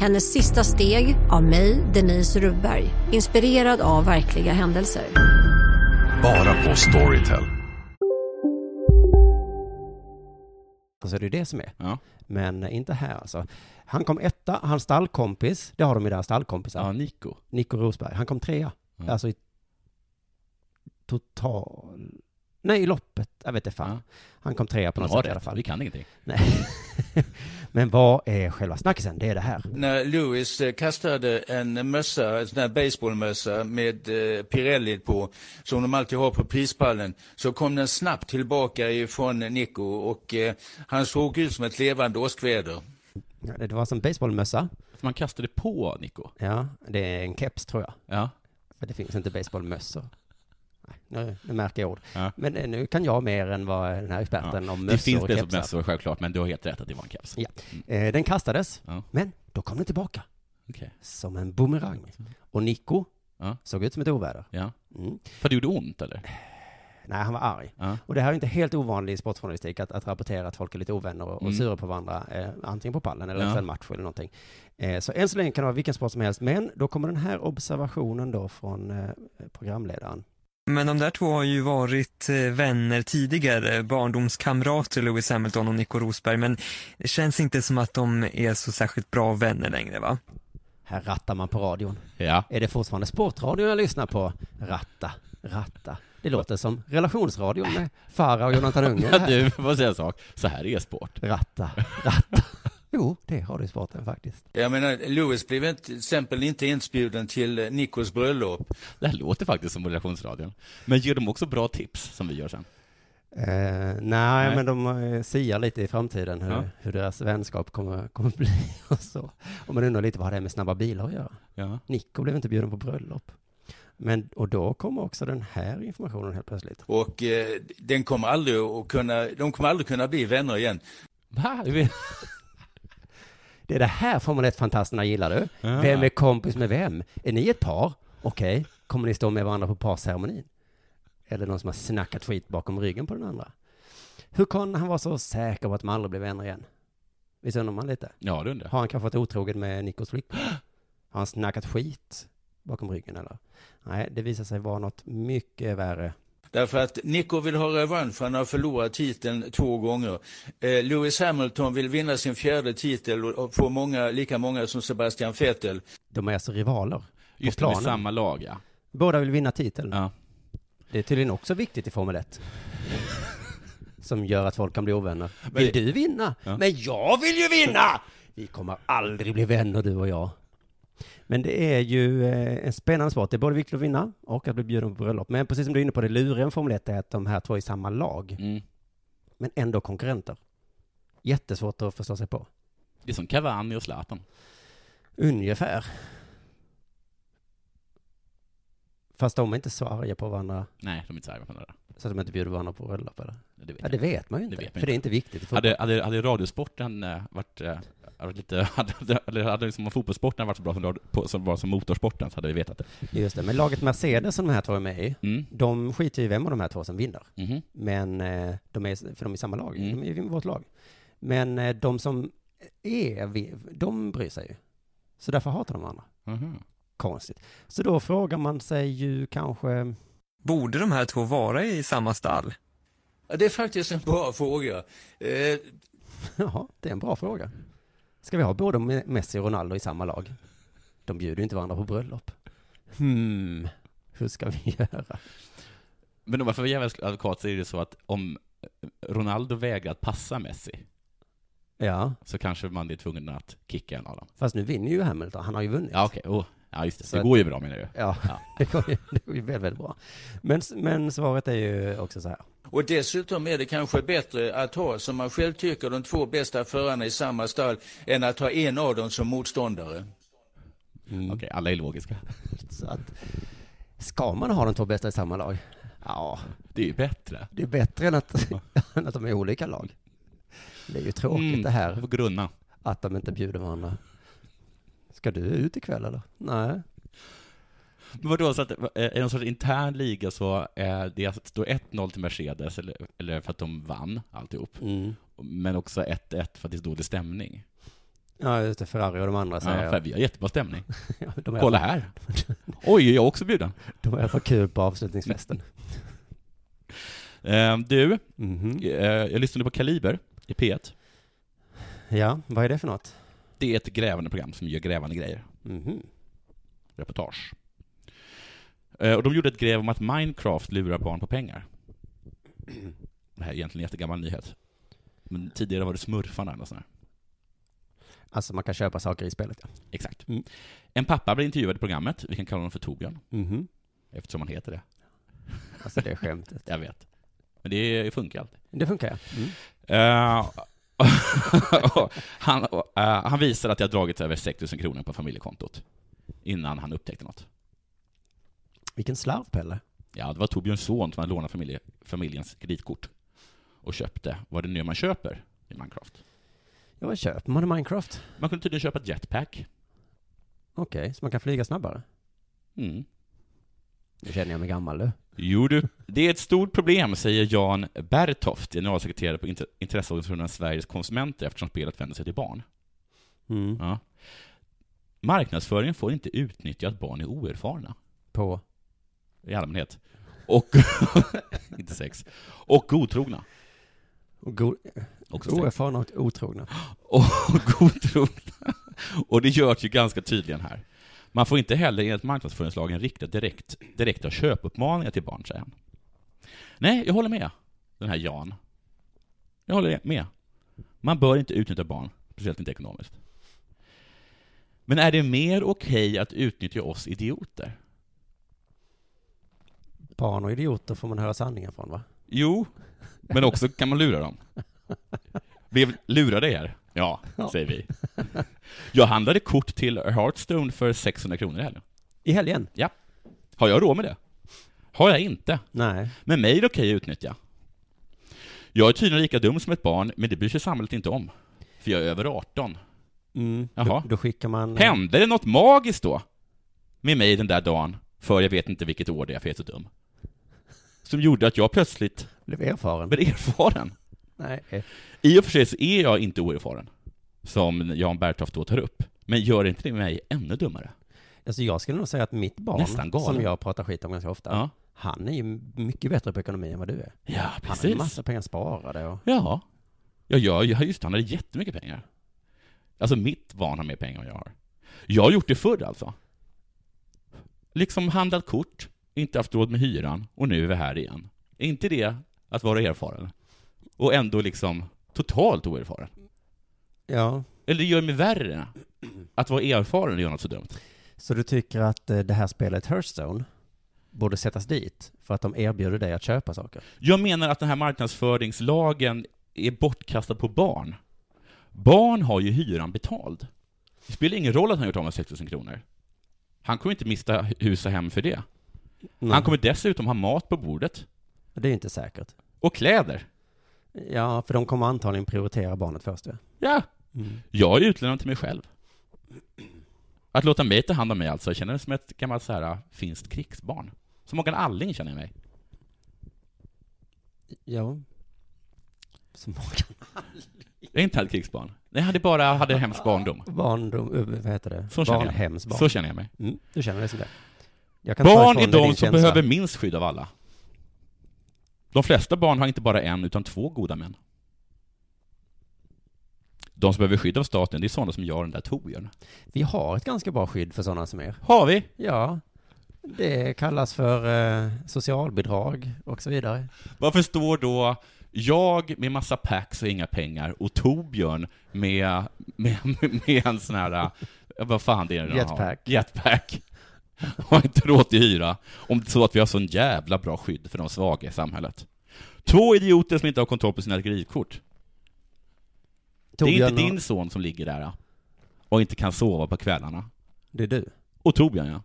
[SPEAKER 6] Hennes sista steg av mig, Denise Rubberg. Inspirerad av verkliga händelser.
[SPEAKER 2] Bara på Storytel.
[SPEAKER 3] Så det är det som är.
[SPEAKER 5] Ja.
[SPEAKER 3] Men inte här alltså. Han kom etta, hans stallkompis, det har de ju där stallkompisar,
[SPEAKER 5] ja, Nico.
[SPEAKER 3] Nico Rosberg, han kom trea.
[SPEAKER 5] Mm.
[SPEAKER 3] Alltså i total... Nej, i loppet. Jag vet inte fan.
[SPEAKER 5] Ja.
[SPEAKER 3] Han kom trea på
[SPEAKER 5] Han
[SPEAKER 3] något
[SPEAKER 5] har
[SPEAKER 3] sätt i alla
[SPEAKER 5] rätt.
[SPEAKER 3] fall.
[SPEAKER 5] Vi kan ingenting.
[SPEAKER 3] Nej. Men vad är själva snackisen? Det är det här.
[SPEAKER 7] När Lewis eh, kastade en mössa, en sån här baseballmössa med eh, Pirelli på, som de alltid har på prispallen, så kom den snabbt tillbaka ifrån Nico och eh, han såg ut som ett levande åskväder.
[SPEAKER 3] Ja, Det var som baseballmössa.
[SPEAKER 5] För man kastade på Nico.
[SPEAKER 3] Ja, det är en keps tror jag.
[SPEAKER 5] Ja.
[SPEAKER 3] För det finns inte baseballmössor. Nej, Nu, nu märker jag ord.
[SPEAKER 5] Ja.
[SPEAKER 3] Men eh, nu kan jag mer än vad den här experten om mössor
[SPEAKER 5] det finns
[SPEAKER 3] och
[SPEAKER 5] bäst
[SPEAKER 3] kepsar.
[SPEAKER 5] på mässor självklart, men du har helt rätt att det var en keps.
[SPEAKER 3] Ja. Eh, Den kastades,
[SPEAKER 5] Ja.
[SPEAKER 3] men då kom den tillbaka
[SPEAKER 5] Okej.
[SPEAKER 3] som en bumerang. Och Nico
[SPEAKER 5] Ja.
[SPEAKER 3] såg ut som ett oväder.
[SPEAKER 5] Ja.
[SPEAKER 3] Mm.
[SPEAKER 5] För det gjorde ont, eller?
[SPEAKER 3] Nej, han var arg.
[SPEAKER 5] Ja.
[SPEAKER 3] Och det här är inte helt ovanligt i sportjournalistik, att, att rapportera att folk är lite ovänner och,
[SPEAKER 5] Mm.
[SPEAKER 3] och sura på varandra, eh, antingen på pallen eller
[SPEAKER 5] Ja.
[SPEAKER 3] efter en match eller någonting. Eh, så än så länge kan det vara vilken sport som helst, men då kommer den här observationen då från eh, programledaren.
[SPEAKER 7] Men de där två har ju varit eh, vänner tidigare, barndomskamrater Lewis Hamilton och Nico Rosberg, men det känns inte som att de är så särskilt bra vänner längre va?
[SPEAKER 3] Här rattar man på radion.
[SPEAKER 5] Ja.
[SPEAKER 3] Är det fortfarande sportradion jag lyssnar på? Ratta, ratta. Det låter som relationsradion med Farah och Jonathan Unge.
[SPEAKER 5] Ja,
[SPEAKER 3] här.
[SPEAKER 5] du, vad säger jag en sak? Så här är sport.
[SPEAKER 3] Ratta, ratta. Jo, det har du i sporten faktiskt.
[SPEAKER 7] Jag menar, Lewis blev inte, till exempel inte inbjuden till eh, Nicos bröllop.
[SPEAKER 5] Det här låter faktiskt som relationsradion. Men ger de också bra tips, som vi gör sen?
[SPEAKER 3] Eh, nej, men de eh, siar lite i framtiden hur,
[SPEAKER 5] Ja.
[SPEAKER 3] hur deras vänskap kommer, kommer bli och så. Och man undrar lite vad det är med snabba bilar att göra.
[SPEAKER 5] Ja.
[SPEAKER 3] Nico blev inte bjuden på bröllop. Men, och då kommer också den här informationen helt plötsligt.
[SPEAKER 7] Och eh, den kommer aldrig att kunna, de kommer aldrig kunna bli vänner igen.
[SPEAKER 5] Va?
[SPEAKER 3] Det är det här Formel 1-fantasterna gillar du.
[SPEAKER 5] Ja.
[SPEAKER 3] Vem är kompis med vem? Är ni ett par? Okej, kommer ni stå med varandra på parceremonin? Eller någon som har snackat skit bakom ryggen på den andra? Hur kan han vara så säker på att man aldrig blir vänner igen? Visst undrar man lite?
[SPEAKER 5] Ja, det undrar jag.
[SPEAKER 3] Har han kanske varit otrogen med Nikos flickvän? Har han snackat skit bakom ryggen eller? Nej, det visar sig vara något mycket värre.
[SPEAKER 7] Därför att Nico vill ha revansch, han har förlorat titeln två gånger. Eh, Lewis Hamilton vill vinna sin fjärde titel och- och få många, lika många som Sebastian Vettel.
[SPEAKER 3] De är alltså rivaler.
[SPEAKER 5] Just det,
[SPEAKER 3] på
[SPEAKER 5] med
[SPEAKER 3] planen.
[SPEAKER 5] samma lag, ja.
[SPEAKER 3] Båda vill vinna titeln.
[SPEAKER 5] Ja.
[SPEAKER 3] Det är tydligen också viktigt i Formel 1. Som gör att folk kan bli ovänner.
[SPEAKER 5] Men-
[SPEAKER 3] Vill du vinna?
[SPEAKER 5] Ja.
[SPEAKER 3] Men jag vill ju vinna! Vi kommer aldrig bli vänner du och jag. Men det är ju eh, en spännande sport. Det är både viktigt att vinna och att bli bjuden på bröllop. Men precis som du är inne på, det luriga med Formel 1 är att de här två är i samma lag.
[SPEAKER 5] Mm.
[SPEAKER 3] Men ändå konkurrenter. Jättesvårt att förstå sig på.
[SPEAKER 5] Det är som Cavani och Zlatan.
[SPEAKER 3] Ungefär. Fast de är inte så arga på varandra.
[SPEAKER 5] Nej, de är inte så arga på varandra.
[SPEAKER 3] Så att de inte bjuder varandra på bröllop eller?
[SPEAKER 5] Det vet,
[SPEAKER 3] ja, det vet man ju inte. för det är inte viktigt. För
[SPEAKER 5] Hade, hade, hade radiosporten eh, varit, eh, varit lite, hade, eller hade liksom fotbollssporten varit så bra som, radio- på- som, var som motorsporten så hade vi vetat det. Mm,
[SPEAKER 3] Just det, men laget Mercedes som de här två är med i, de skiter ju i vem av de här två som vinner.
[SPEAKER 5] Mhm.
[SPEAKER 3] Men eh, de är, för de är i samma lag, de är ju i vårt lag. Men eh, de som är, vi- de bryr sig ju. Så därför hatar de varandra.
[SPEAKER 5] Mhm.
[SPEAKER 3] Konstigt. Så då frågar man sig ju kanske,
[SPEAKER 8] Borde de här två vara i samma stall?
[SPEAKER 7] Ja, det är faktiskt en bra fråga. Eh,
[SPEAKER 3] ja, det är en bra fråga. Ska vi ha både Me- Messi och Ronaldo i samma lag? De bjuder ju inte varandra på bröllop. Hmm, hur ska vi göra?
[SPEAKER 5] Men om man får vara djävulens advokat så är det så att om eh, Ronaldo vägrar att passa Messi
[SPEAKER 3] Ja,
[SPEAKER 5] så kanske man är tvungen att kicka en av dem.
[SPEAKER 3] fast nu vinner ju Hamilton, han har ju vunnit.
[SPEAKER 5] Ja, okej. Oh, ja, just det.
[SPEAKER 3] Så
[SPEAKER 5] det
[SPEAKER 3] att-
[SPEAKER 5] går ju bra menar du?
[SPEAKER 3] Ja, det går ju, det går ju väldigt, väldigt bra. Men, men svaret är ju också så här.
[SPEAKER 7] Och dessutom är det kanske bättre att ha, som man själv tycker, de två bästa förarna i samma stall än att ha en av dem som motståndare.
[SPEAKER 3] Mm.
[SPEAKER 5] Okej, alla är logiska.
[SPEAKER 3] Så att, ska man ha de två bästa i samma lag? Ja.
[SPEAKER 5] Det är ju bättre.
[SPEAKER 3] Det är bättre än att, än att de är olika lag. Det är ju tråkigt
[SPEAKER 5] Mm,
[SPEAKER 3] det här.
[SPEAKER 5] får grunna.
[SPEAKER 3] Att de inte bjuder varandra. Ska du ut ikväll eller? Nej.
[SPEAKER 5] Men vadå, så att eh, i någon sorts intern liga så eh, det står 1-0 till Mercedes, eller, eller för att de vann alltihop. Men också 1-1 för att det är dålig stämning.
[SPEAKER 3] Ja, just det. Ferrari och de andra säger...
[SPEAKER 5] Ja, för vi har jättebra stämning.
[SPEAKER 3] Ja, de är- alltså-
[SPEAKER 5] Kolla här. Oj, är jag också bjuden?
[SPEAKER 3] De är för kul på avslutningsfesten.
[SPEAKER 5] Eh, Du,
[SPEAKER 3] Mhm.
[SPEAKER 5] eh, jag lyssnade på Kaliber i P1.
[SPEAKER 3] Ja, vad är det för något?
[SPEAKER 5] Det är ett grävande program som gör grävande grejer.
[SPEAKER 3] Mhm.
[SPEAKER 5] Reportage. Eh, Och de gjorde ett gräv om att Minecraft lurar barn på pengar. Det här är egentligen en jättegammal nyhet. Men tidigare var det smurfarna eller sånt där.
[SPEAKER 3] Alltså man kan köpa saker i spelet ja.
[SPEAKER 5] Exakt.
[SPEAKER 3] Mm.
[SPEAKER 5] En pappa blir intervjuad i programmet, vi kan kalla honom för Torbjörn.
[SPEAKER 3] Mhm.
[SPEAKER 5] Eftersom han heter det.
[SPEAKER 3] Alltså det är skämtet.
[SPEAKER 5] Jag vet. Men det funkar alltid.
[SPEAKER 3] Det funkar ja. Mm.
[SPEAKER 5] Eh, han, eh, han visar att jag dragit över 6 000 kronor på familjekontot. Innan han upptäckte något.
[SPEAKER 3] Vilken slarv Pelle.
[SPEAKER 5] Ja, det var Torbjörns son som hade lånat familje, familjens kreditkort. Och köpte, vad det nu är man köper i Minecraft.
[SPEAKER 3] Ja, vad köper man i Minecraft?
[SPEAKER 5] Man kunde tydligen köpa ett jetpack.
[SPEAKER 3] Okej, så man kan flyga snabbare?
[SPEAKER 5] Mm.
[SPEAKER 3] Nu känner jag mig gammal du.
[SPEAKER 5] Jo du, det är ett stort problem, säger Jan Bertoft, generalsekreterare på inter- intresseorganisationen Sveriges konsumenter, eftersom spelet vänder sig till barn. Ja. Marknadsföringen får inte utnyttja att barn är oerfarna.
[SPEAKER 3] På?
[SPEAKER 5] I allmänhet. Och... inte sex. Och godtrogna.
[SPEAKER 3] Och go-
[SPEAKER 5] Också sex.
[SPEAKER 3] Oerfarna och otrogna.
[SPEAKER 5] och godtrogna. Och det görs ju ganska tydligen här. Man får inte heller enligt marknadsföringslagen rikta direkt, direkta köpuppmaningar till barn, säger han. Nej, jag håller med, den här Jan. Jag håller med. Man bör inte utnyttja barn, speciellt inte ekonomiskt. Men är det mer okej att utnyttja oss idioter?
[SPEAKER 3] Barn och idioter får man höra sanningen från va?
[SPEAKER 5] Jo, men också kan man lura dem. Blev lurade er? Ja,
[SPEAKER 3] Ja.
[SPEAKER 5] säger vi. Jag handlade kort till Hearthstone för 600 kronor i helgen.
[SPEAKER 3] I helgen?
[SPEAKER 5] Ja. Har jag råd med det? Har jag inte.
[SPEAKER 3] Nej.
[SPEAKER 5] Men mig är det okej att utnyttja. Jag är tydligen lika dum som ett barn, men det bryr sig samhället inte om. För jag är över 18.
[SPEAKER 3] Mm.
[SPEAKER 5] Jaha.
[SPEAKER 3] Då, då skickar man... eh,
[SPEAKER 5] Hände det något magiskt då? Med mig den där dagen, för jag vet inte vilket år det är, för jag är så dum. Som gjorde att jag plötsligt...
[SPEAKER 3] Blev erfaren.
[SPEAKER 5] Blev erfaren.
[SPEAKER 3] Nej.
[SPEAKER 5] I och för sig så är jag inte oerfaren, som Jan Bergtoft då tar upp. Men gör inte det mig ännu dummare?
[SPEAKER 3] Alltså jag skulle nog säga att mitt
[SPEAKER 5] Nästan
[SPEAKER 3] barn,
[SPEAKER 5] galen.
[SPEAKER 3] som jag pratar skit om ganska ofta, han är ju mycket bättre på ekonomi än vad du är.
[SPEAKER 5] Ja,
[SPEAKER 3] Han har
[SPEAKER 5] precis.
[SPEAKER 3] en massa pengar sparade och...
[SPEAKER 5] Ja. Ja, ja, ja just det, han hade jättemycket pengar. Alltså mitt barn har mer pengar än jag har. Jag har gjort det förr alltså. Liksom handlat kort, inte haft råd med hyran och nu är vi här igen. Är inte det att vara erfaren? Och ändå liksom totalt oerfaren?
[SPEAKER 3] Ja.
[SPEAKER 5] Eller det gör mig värre att vara erfaren och göra något så dumt.
[SPEAKER 3] Så du tycker att eh, det här spelet Hearthstone borde sättas dit för att de erbjuder dig att köpa saker?
[SPEAKER 5] Jag menar att den här marknadsföringslagen är bortkastad på barn. Barn har ju hyran betald. Det spelar ingen roll att han gjort av med 6 000 kronor. Han kommer inte mista hus och hem för det. Han kommer dessutom ha mat på bordet.
[SPEAKER 3] Det är inte säkert.
[SPEAKER 5] Och kläder.
[SPEAKER 3] Ja, för de kommer antagligen prioritera barnet först. Ja.
[SPEAKER 5] Ja.
[SPEAKER 3] Mm.
[SPEAKER 5] Jag är utlämnad till mig själv. Att låta mig ta hand om mig alltså, jag känner mig som ett gammalt så här äh, finskt krigsbarn. Som Håkan Alling känner jag mig.
[SPEAKER 3] ja. Som Håkan
[SPEAKER 5] Jag är inte ett krigsbarn. Nej, jag hade bara hade hemsk barndom.
[SPEAKER 3] Barndom, eh, vad heter det?
[SPEAKER 5] Så känner jag.
[SPEAKER 3] Barnhemsbarn.
[SPEAKER 5] Så känner jag mig.
[SPEAKER 3] Mm, du känner dig som det. Jag kan ta
[SPEAKER 5] Barn
[SPEAKER 3] ifrån
[SPEAKER 5] är
[SPEAKER 3] dig
[SPEAKER 5] de
[SPEAKER 3] din
[SPEAKER 5] som
[SPEAKER 3] känsla.
[SPEAKER 5] behöver minst skydd av alla. De flesta barn har inte bara en, utan två goda män. De som behöver skydd av staten, det är sådana som jag och den där Torbjörn.
[SPEAKER 3] Vi har ett ganska bra skydd för sådana som er.
[SPEAKER 5] Har vi?
[SPEAKER 3] Ja. Det kallas för eh, socialbidrag och så vidare.
[SPEAKER 5] Varför står då jag med massa packs och inga pengar och Torbjörn med, med, med en sån här, eh, vad fan det är han har?
[SPEAKER 3] Jetpack.
[SPEAKER 5] Jetpack. Har inte råd till hyra, om det är så att vi har sån jävla bra skydd för de svaga i samhället. Två idioter som inte har kontroll på sina kreditkort. det är
[SPEAKER 3] Torbjörn
[SPEAKER 5] inte
[SPEAKER 3] och-
[SPEAKER 5] din son som ligger där eh, och inte kan sova på kvällarna.
[SPEAKER 3] Det är du.
[SPEAKER 5] Och Torbjörn ja.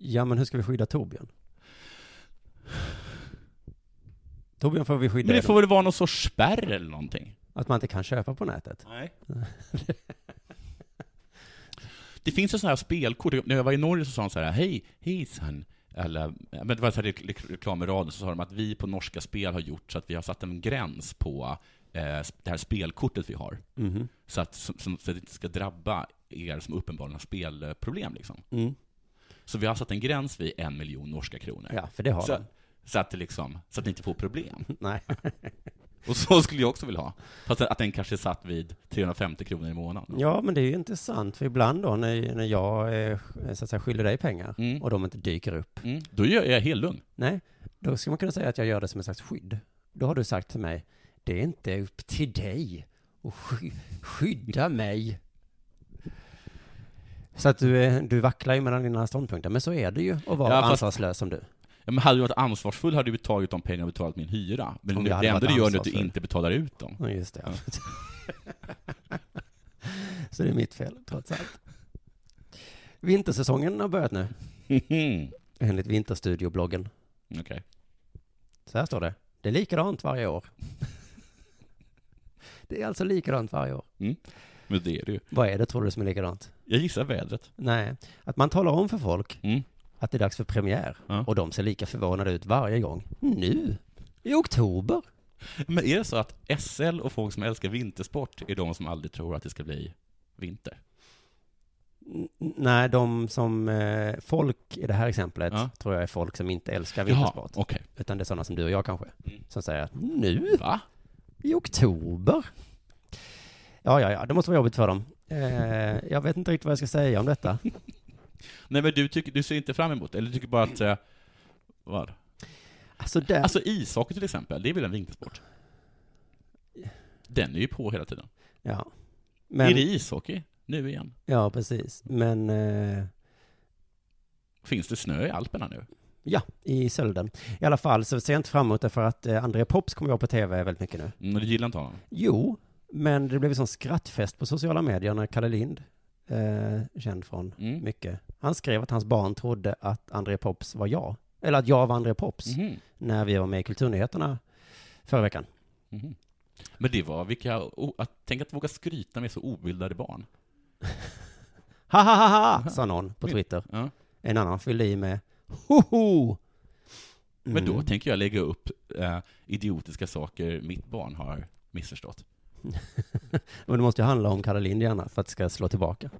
[SPEAKER 3] Ja, men hur ska vi skydda Torbjörn? Torbjörn får vi skydda
[SPEAKER 5] Men det
[SPEAKER 3] genom
[SPEAKER 5] får väl vara någon sorts spärr eller någonting.
[SPEAKER 3] Att man inte kan köpa på nätet.
[SPEAKER 5] Nej. Det finns ju sådana här spelkort. När jag var i Norge så sa de så här, hej, hejsan. Eller, men det var så här re- reklam i radion, så sa de att vi på norska spel har gjort så att vi har satt en gräns på eh, det här spelkortet vi har.
[SPEAKER 3] Mhm.
[SPEAKER 5] Så, att, som, som, så att det inte ska drabba er som uppenbarligen har spelproblem. Liksom.
[SPEAKER 3] Mm.
[SPEAKER 5] Så vi har satt en gräns vid en miljon norska kronor.
[SPEAKER 3] Ja, för det har
[SPEAKER 5] så,
[SPEAKER 3] de.
[SPEAKER 5] så att, det liksom, så att ni inte får problem.
[SPEAKER 3] Nej.
[SPEAKER 5] Och så skulle jag också vilja ha. Fast att den kanske är satt vid 350 kronor i månaden.
[SPEAKER 3] Ja, men det är ju intressant, för ibland då när, när jag eh, så att säga, skyller dig pengar och de inte dyker upp.
[SPEAKER 5] Mm. Då är jag helt lugn.
[SPEAKER 3] Nej, då skulle man kunna säga att jag gör det som en slags skydd. Då har du sagt till mig, det är inte upp till dig att sky- skydda mig. Så att du, eh, du vacklar ju mellan dina ståndpunkter, men så är det ju att vara
[SPEAKER 5] Ja, fast-
[SPEAKER 3] ansvarslös som du.
[SPEAKER 5] Ja, men hade du varit ansvarsfull hade du tagit de pengarna och betalat min hyra. Men
[SPEAKER 3] Om
[SPEAKER 5] nu,
[SPEAKER 3] jag
[SPEAKER 5] det
[SPEAKER 3] hade
[SPEAKER 5] enda
[SPEAKER 3] varit
[SPEAKER 5] du gör nu är att du
[SPEAKER 3] ansvarsfull.
[SPEAKER 5] inte betalar ut dem.
[SPEAKER 3] Ja, just det. Så det är mitt fel, trots allt. Vintersäsongen har börjat nu. Enligt Vinterstudiobloggen.
[SPEAKER 5] Okej.
[SPEAKER 3] Så här står det. Det är likadant varje år. Det är alltså likadant varje år.
[SPEAKER 5] Mm. Men det är det ju.
[SPEAKER 3] Vad är det tror du som är likadant?
[SPEAKER 5] Jag gissar vädret.
[SPEAKER 3] Nej, att man talar om för folk att det är dags för premiär.
[SPEAKER 5] Mm. Ja.
[SPEAKER 3] Och de ser lika förvånade ut varje gång. Nu? I oktober?
[SPEAKER 5] Men är det så att SL och folk som älskar vintersport är de som aldrig tror att det ska bli vinter?
[SPEAKER 3] N- Nej, de som eh, folk i det här exemplet
[SPEAKER 5] Ja.
[SPEAKER 3] tror jag är folk som inte älskar
[SPEAKER 5] Jaha,
[SPEAKER 3] vintersport.
[SPEAKER 5] okej.
[SPEAKER 3] Utan det är sådana som du och jag kanske. Som säger att nu?
[SPEAKER 5] Va?
[SPEAKER 3] I oktober? Ja, ja, ja, det måste vara jobbigt för dem. Eh, jag vet inte riktigt vad jag ska säga om detta.
[SPEAKER 5] Nej, men du, tycker, du ser inte fram emot det? Eller du tycker bara att... Eh, vad?
[SPEAKER 3] Alltså, där...
[SPEAKER 5] alltså ishockey till exempel, det är väl en vintersport? Den är ju på hela tiden.
[SPEAKER 3] Ja. Men-
[SPEAKER 5] Är det ishockey? Nu igen?
[SPEAKER 3] Ja, precis. Men eh,
[SPEAKER 5] Finns det snö i Alperna nu?
[SPEAKER 3] ja, i sölden. I alla fall så ser jag inte fram emot det för att eh, André Pops kommer jag på tv väldigt mycket nu.
[SPEAKER 5] Men Mm, du gillar inte honom?
[SPEAKER 3] Jo, men det blev en sån skrattfest på sociala medier när Kalle Lind, eh, känd från
[SPEAKER 5] Mm.
[SPEAKER 3] mycket, han skrev att hans barn trodde att André Pops var jag. Eller att jag var André Pops. När vi var med i Kulturnyheterna förra veckan.
[SPEAKER 5] Mhm. Men det var vilka, o- att, tänk att våga skryta med så obildade barn.
[SPEAKER 3] Ha ha ha ha, sa någon på Twitter.
[SPEAKER 5] Ja.
[SPEAKER 3] En annan fyllde i med hoho.
[SPEAKER 5] Men då
[SPEAKER 3] Mm.
[SPEAKER 5] tänker jag lägga upp eh, idiotiska saker mitt barn har missförstått.
[SPEAKER 3] Men det måste ju handla om Kalle Lind gärna för att det ska slå tillbaka.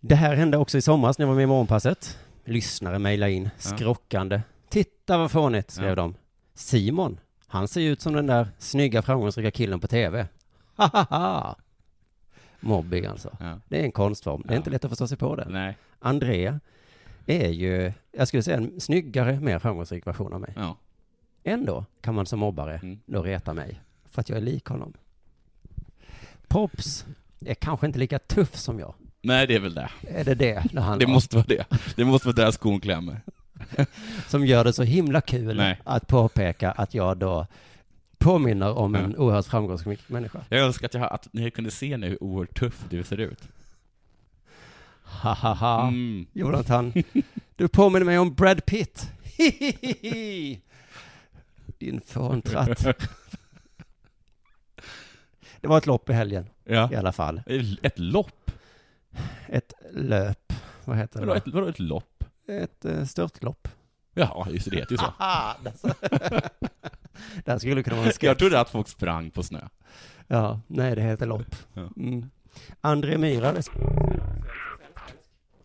[SPEAKER 3] Det här hände också i somras när jag var med i Morgonpasset. Lyssnare mejlade in, skrockande. Titta vad fånigt, skrev
[SPEAKER 5] Ja.
[SPEAKER 3] de. Simon, han ser ju ut som den där snygga framgångsrika killen på tv. Ha ha ha! Mobbing alltså. Det är en konstform. Det är inte lätt att förstå sig på det.
[SPEAKER 5] Nej.
[SPEAKER 3] Andrea är ju, jag skulle säga en snyggare, mer framgångsrik version av mig. Ändå kan man som mobbare
[SPEAKER 5] Mm.
[SPEAKER 3] då reta mig för att jag är lik honom. Pops är kanske inte lika tuff som jag.
[SPEAKER 5] Nej, det är väl det.
[SPEAKER 3] Är det det det handlar
[SPEAKER 5] Det
[SPEAKER 3] om?
[SPEAKER 5] måste vara det. Det måste vara där skon klämmer.
[SPEAKER 3] Som gör det så himla kul
[SPEAKER 5] Nej.
[SPEAKER 3] att påpeka att jag då påminner om en oerhört framgångsrik människa.
[SPEAKER 5] Jag önskar att, jag, att ni kunde se nu hur oerhört tuff du ser ut.
[SPEAKER 3] Ha ha ha.
[SPEAKER 5] Mm.
[SPEAKER 3] Jonathan, du påminner mig om Brad Pitt. Hihihi. Din fåntratt. Det var ett lopp i helgen. I alla fall.
[SPEAKER 5] Ett lopp?
[SPEAKER 3] Ett löp. Vad heter det?
[SPEAKER 5] Vadå
[SPEAKER 3] då?
[SPEAKER 5] ett, vadå ett lopp?
[SPEAKER 3] Ett eh, störtlopp.
[SPEAKER 5] Ja, just det, det heter ju
[SPEAKER 3] Ah,
[SPEAKER 5] så.
[SPEAKER 3] det här skulle kunna vara en sketch.
[SPEAKER 5] alltså. Jag trodde att folk sprang på snö.
[SPEAKER 3] Ja, nej det heter lopp. Mm. André Myhra, det-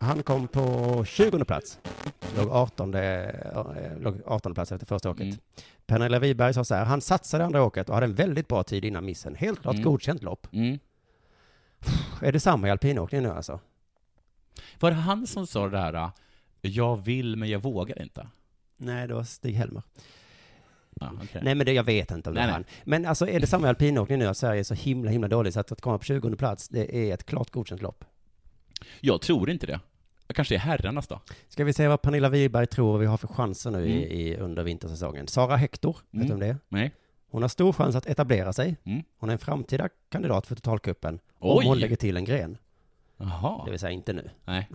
[SPEAKER 3] han kom på 20 plats. Låg 18, eh, låg 18 plats efter första åket.
[SPEAKER 5] Mm.
[SPEAKER 3] Pernilla Wiberg sa så här, han satsade andra åket och hade en väldigt bra tid innan missen. Helt klart
[SPEAKER 5] Mm.
[SPEAKER 3] godkänt lopp.
[SPEAKER 5] Mm.
[SPEAKER 3] Är det samma i alpinåkning nu alltså?
[SPEAKER 5] Var det han som sa det här, äh, jag vill men jag vågar inte?
[SPEAKER 3] Nej, det var Stig-Helmer.
[SPEAKER 5] Ja, okej.
[SPEAKER 3] Nej men det, jag vet inte om det
[SPEAKER 5] Nej,
[SPEAKER 3] är
[SPEAKER 5] nej.
[SPEAKER 3] han. Men alltså är det samma i alpinåkning nu att Sverige är så himla himla dåligt så att, att komma på 20 plats det är ett klart godkänt lopp.
[SPEAKER 5] Jag tror inte det. Kanske är herrarnas då?
[SPEAKER 3] Ska vi se vad Pernilla Wiberg tror vi har för chanser nu
[SPEAKER 5] Mm.
[SPEAKER 3] i, i, under vintersäsongen. Sara Hector, vet
[SPEAKER 5] Mm.
[SPEAKER 3] du om det är?
[SPEAKER 5] Nej.
[SPEAKER 3] Hon har stor chans att etablera sig.
[SPEAKER 5] Mm.
[SPEAKER 3] Hon är en framtida kandidat för totalkuppen. Om
[SPEAKER 5] Oj.
[SPEAKER 3] hon lägger till en gren.
[SPEAKER 5] Jaha.
[SPEAKER 3] Det vill säga inte nu.
[SPEAKER 5] Nej.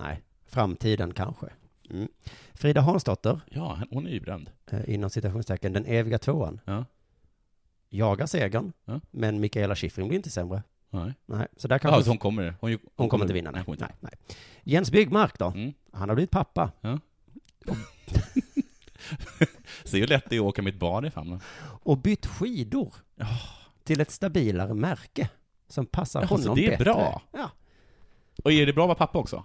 [SPEAKER 3] Framtiden kanske. Mm. Frida Hansdotter,
[SPEAKER 5] Ja, hon är ju bränd.
[SPEAKER 3] eh, inom citationstecken, den eviga tvåan.
[SPEAKER 5] Ja.
[SPEAKER 3] Jagar segern,
[SPEAKER 5] Ja.
[SPEAKER 3] men Mikaela Shiffrin blir inte sämre.
[SPEAKER 5] Nej.
[SPEAKER 3] Nej, så där
[SPEAKER 5] Ja,
[SPEAKER 3] kanske...
[SPEAKER 5] så hon kommer. Hon, ju- hon
[SPEAKER 3] Hon kommer inte vinna,
[SPEAKER 5] Nej, hon kommer inte. Mm.
[SPEAKER 3] Nej. Jens Byggmark då? Han har blivit pappa.
[SPEAKER 5] Ja. Se hur lätt det är att åka mitt barn i famnen.
[SPEAKER 3] Och bytt skidor till ett stabilare märke som passar
[SPEAKER 5] Jaha,
[SPEAKER 3] honom
[SPEAKER 5] så det är
[SPEAKER 3] bättre.
[SPEAKER 5] bra.
[SPEAKER 3] Ja.
[SPEAKER 5] Och är det bra att vara pappa också?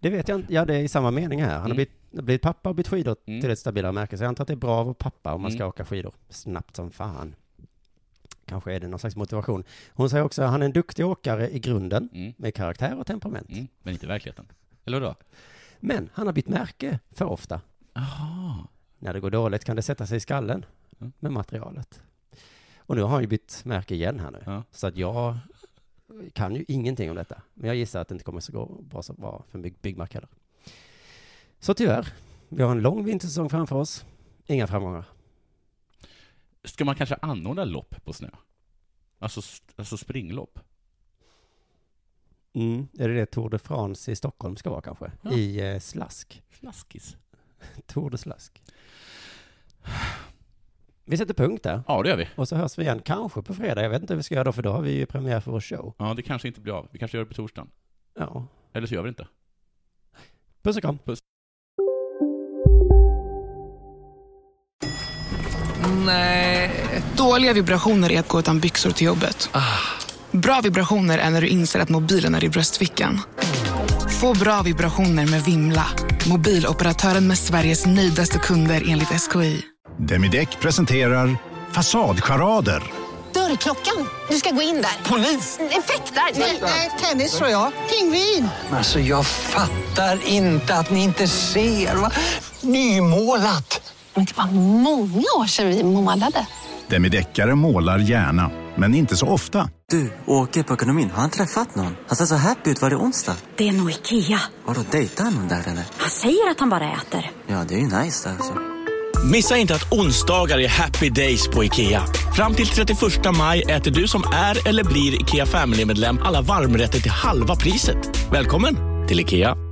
[SPEAKER 3] Det vet jag inte. Ja, det är i samma mening här. Han har
[SPEAKER 5] Mm.
[SPEAKER 3] blivit, blivit pappa och bytt skidor
[SPEAKER 5] Mm.
[SPEAKER 3] till ett stabilare märke. Så jag antar att det är bra att vara pappa om man ska
[SPEAKER 5] Mm.
[SPEAKER 3] åka skidor. Snabbt som fan. Kanske är det någon slags motivation. Hon säger också att han är en duktig åkare i grunden,
[SPEAKER 5] Mm.
[SPEAKER 3] med karaktär och temperament.
[SPEAKER 5] Men inte i verkligheten. Eller vadå?
[SPEAKER 3] Men han har bytt märke för ofta.
[SPEAKER 5] Aha.
[SPEAKER 3] När det går dåligt kan det sätta sig i skallen med materialet. Och nu har han ju bytt märke igen här nu. Så att jag kan ju ingenting om detta. Men jag gissar att det inte kommer så gå bra, så bra för bygg, Byggmark heller. Så tyvärr, vi har en lång vintersäsong framför oss. Inga framgångar.
[SPEAKER 5] Ska man kanske anordna lopp på snö? Alltså, st- alltså springlopp?
[SPEAKER 3] Mm. Är det det Tour de France i Stockholm ska vara kanske?
[SPEAKER 5] Ja.
[SPEAKER 3] I eh, slask.
[SPEAKER 5] Slaskis.
[SPEAKER 3] Tour de slask. Vi sätter punkt där.
[SPEAKER 5] Ja, det gör vi.
[SPEAKER 3] Och så hörs vi igen, kanske på fredag. Jag vet inte hur vi ska göra då, för då har vi ju premiär för vår show.
[SPEAKER 5] Ja, det kanske inte blir av. Vi kanske gör det på torsdagen.
[SPEAKER 3] Ja.
[SPEAKER 5] Eller så gör vi det inte.
[SPEAKER 3] Puss och kram.
[SPEAKER 5] Puss.
[SPEAKER 9] Nej. Dåliga vibrationer är att gå utan byxor till jobbet.
[SPEAKER 10] Ah.
[SPEAKER 9] Bra vibrationer är när du inser att mobilen är i bröstfickan. Få bra vibrationer med Vimla. Mobiloperatören med Sveriges nöjdaste kunder enligt SKI.
[SPEAKER 11] Demideck presenterar Fasadcharader.
[SPEAKER 12] Dörrklockan. Du ska gå in där. Polis? Effektar? Nej, tennis tror jag. Pingvin.
[SPEAKER 13] Alltså jag fattar inte att ni inte ser. Va? Nymålat.
[SPEAKER 12] Men det var många år sedan vi målade.
[SPEAKER 11] Demideckare målar gärna, men inte så ofta.
[SPEAKER 14] Du, åker på ekonomin. Har han träffat någon? Han ser så happy ut. Var det onsdag?
[SPEAKER 15] Det är nog Ikea.
[SPEAKER 14] Har du dejtar han någon där eller?
[SPEAKER 15] Han säger att han bara äter.
[SPEAKER 14] Ja, det är ju nice alltså.
[SPEAKER 16] Missa inte att onsdagar är happy days på IKEA. Fram till 31 maj äter du som är eller blir IKEA Family-medlem alla varmrätter till halva priset. Välkommen till IKEA!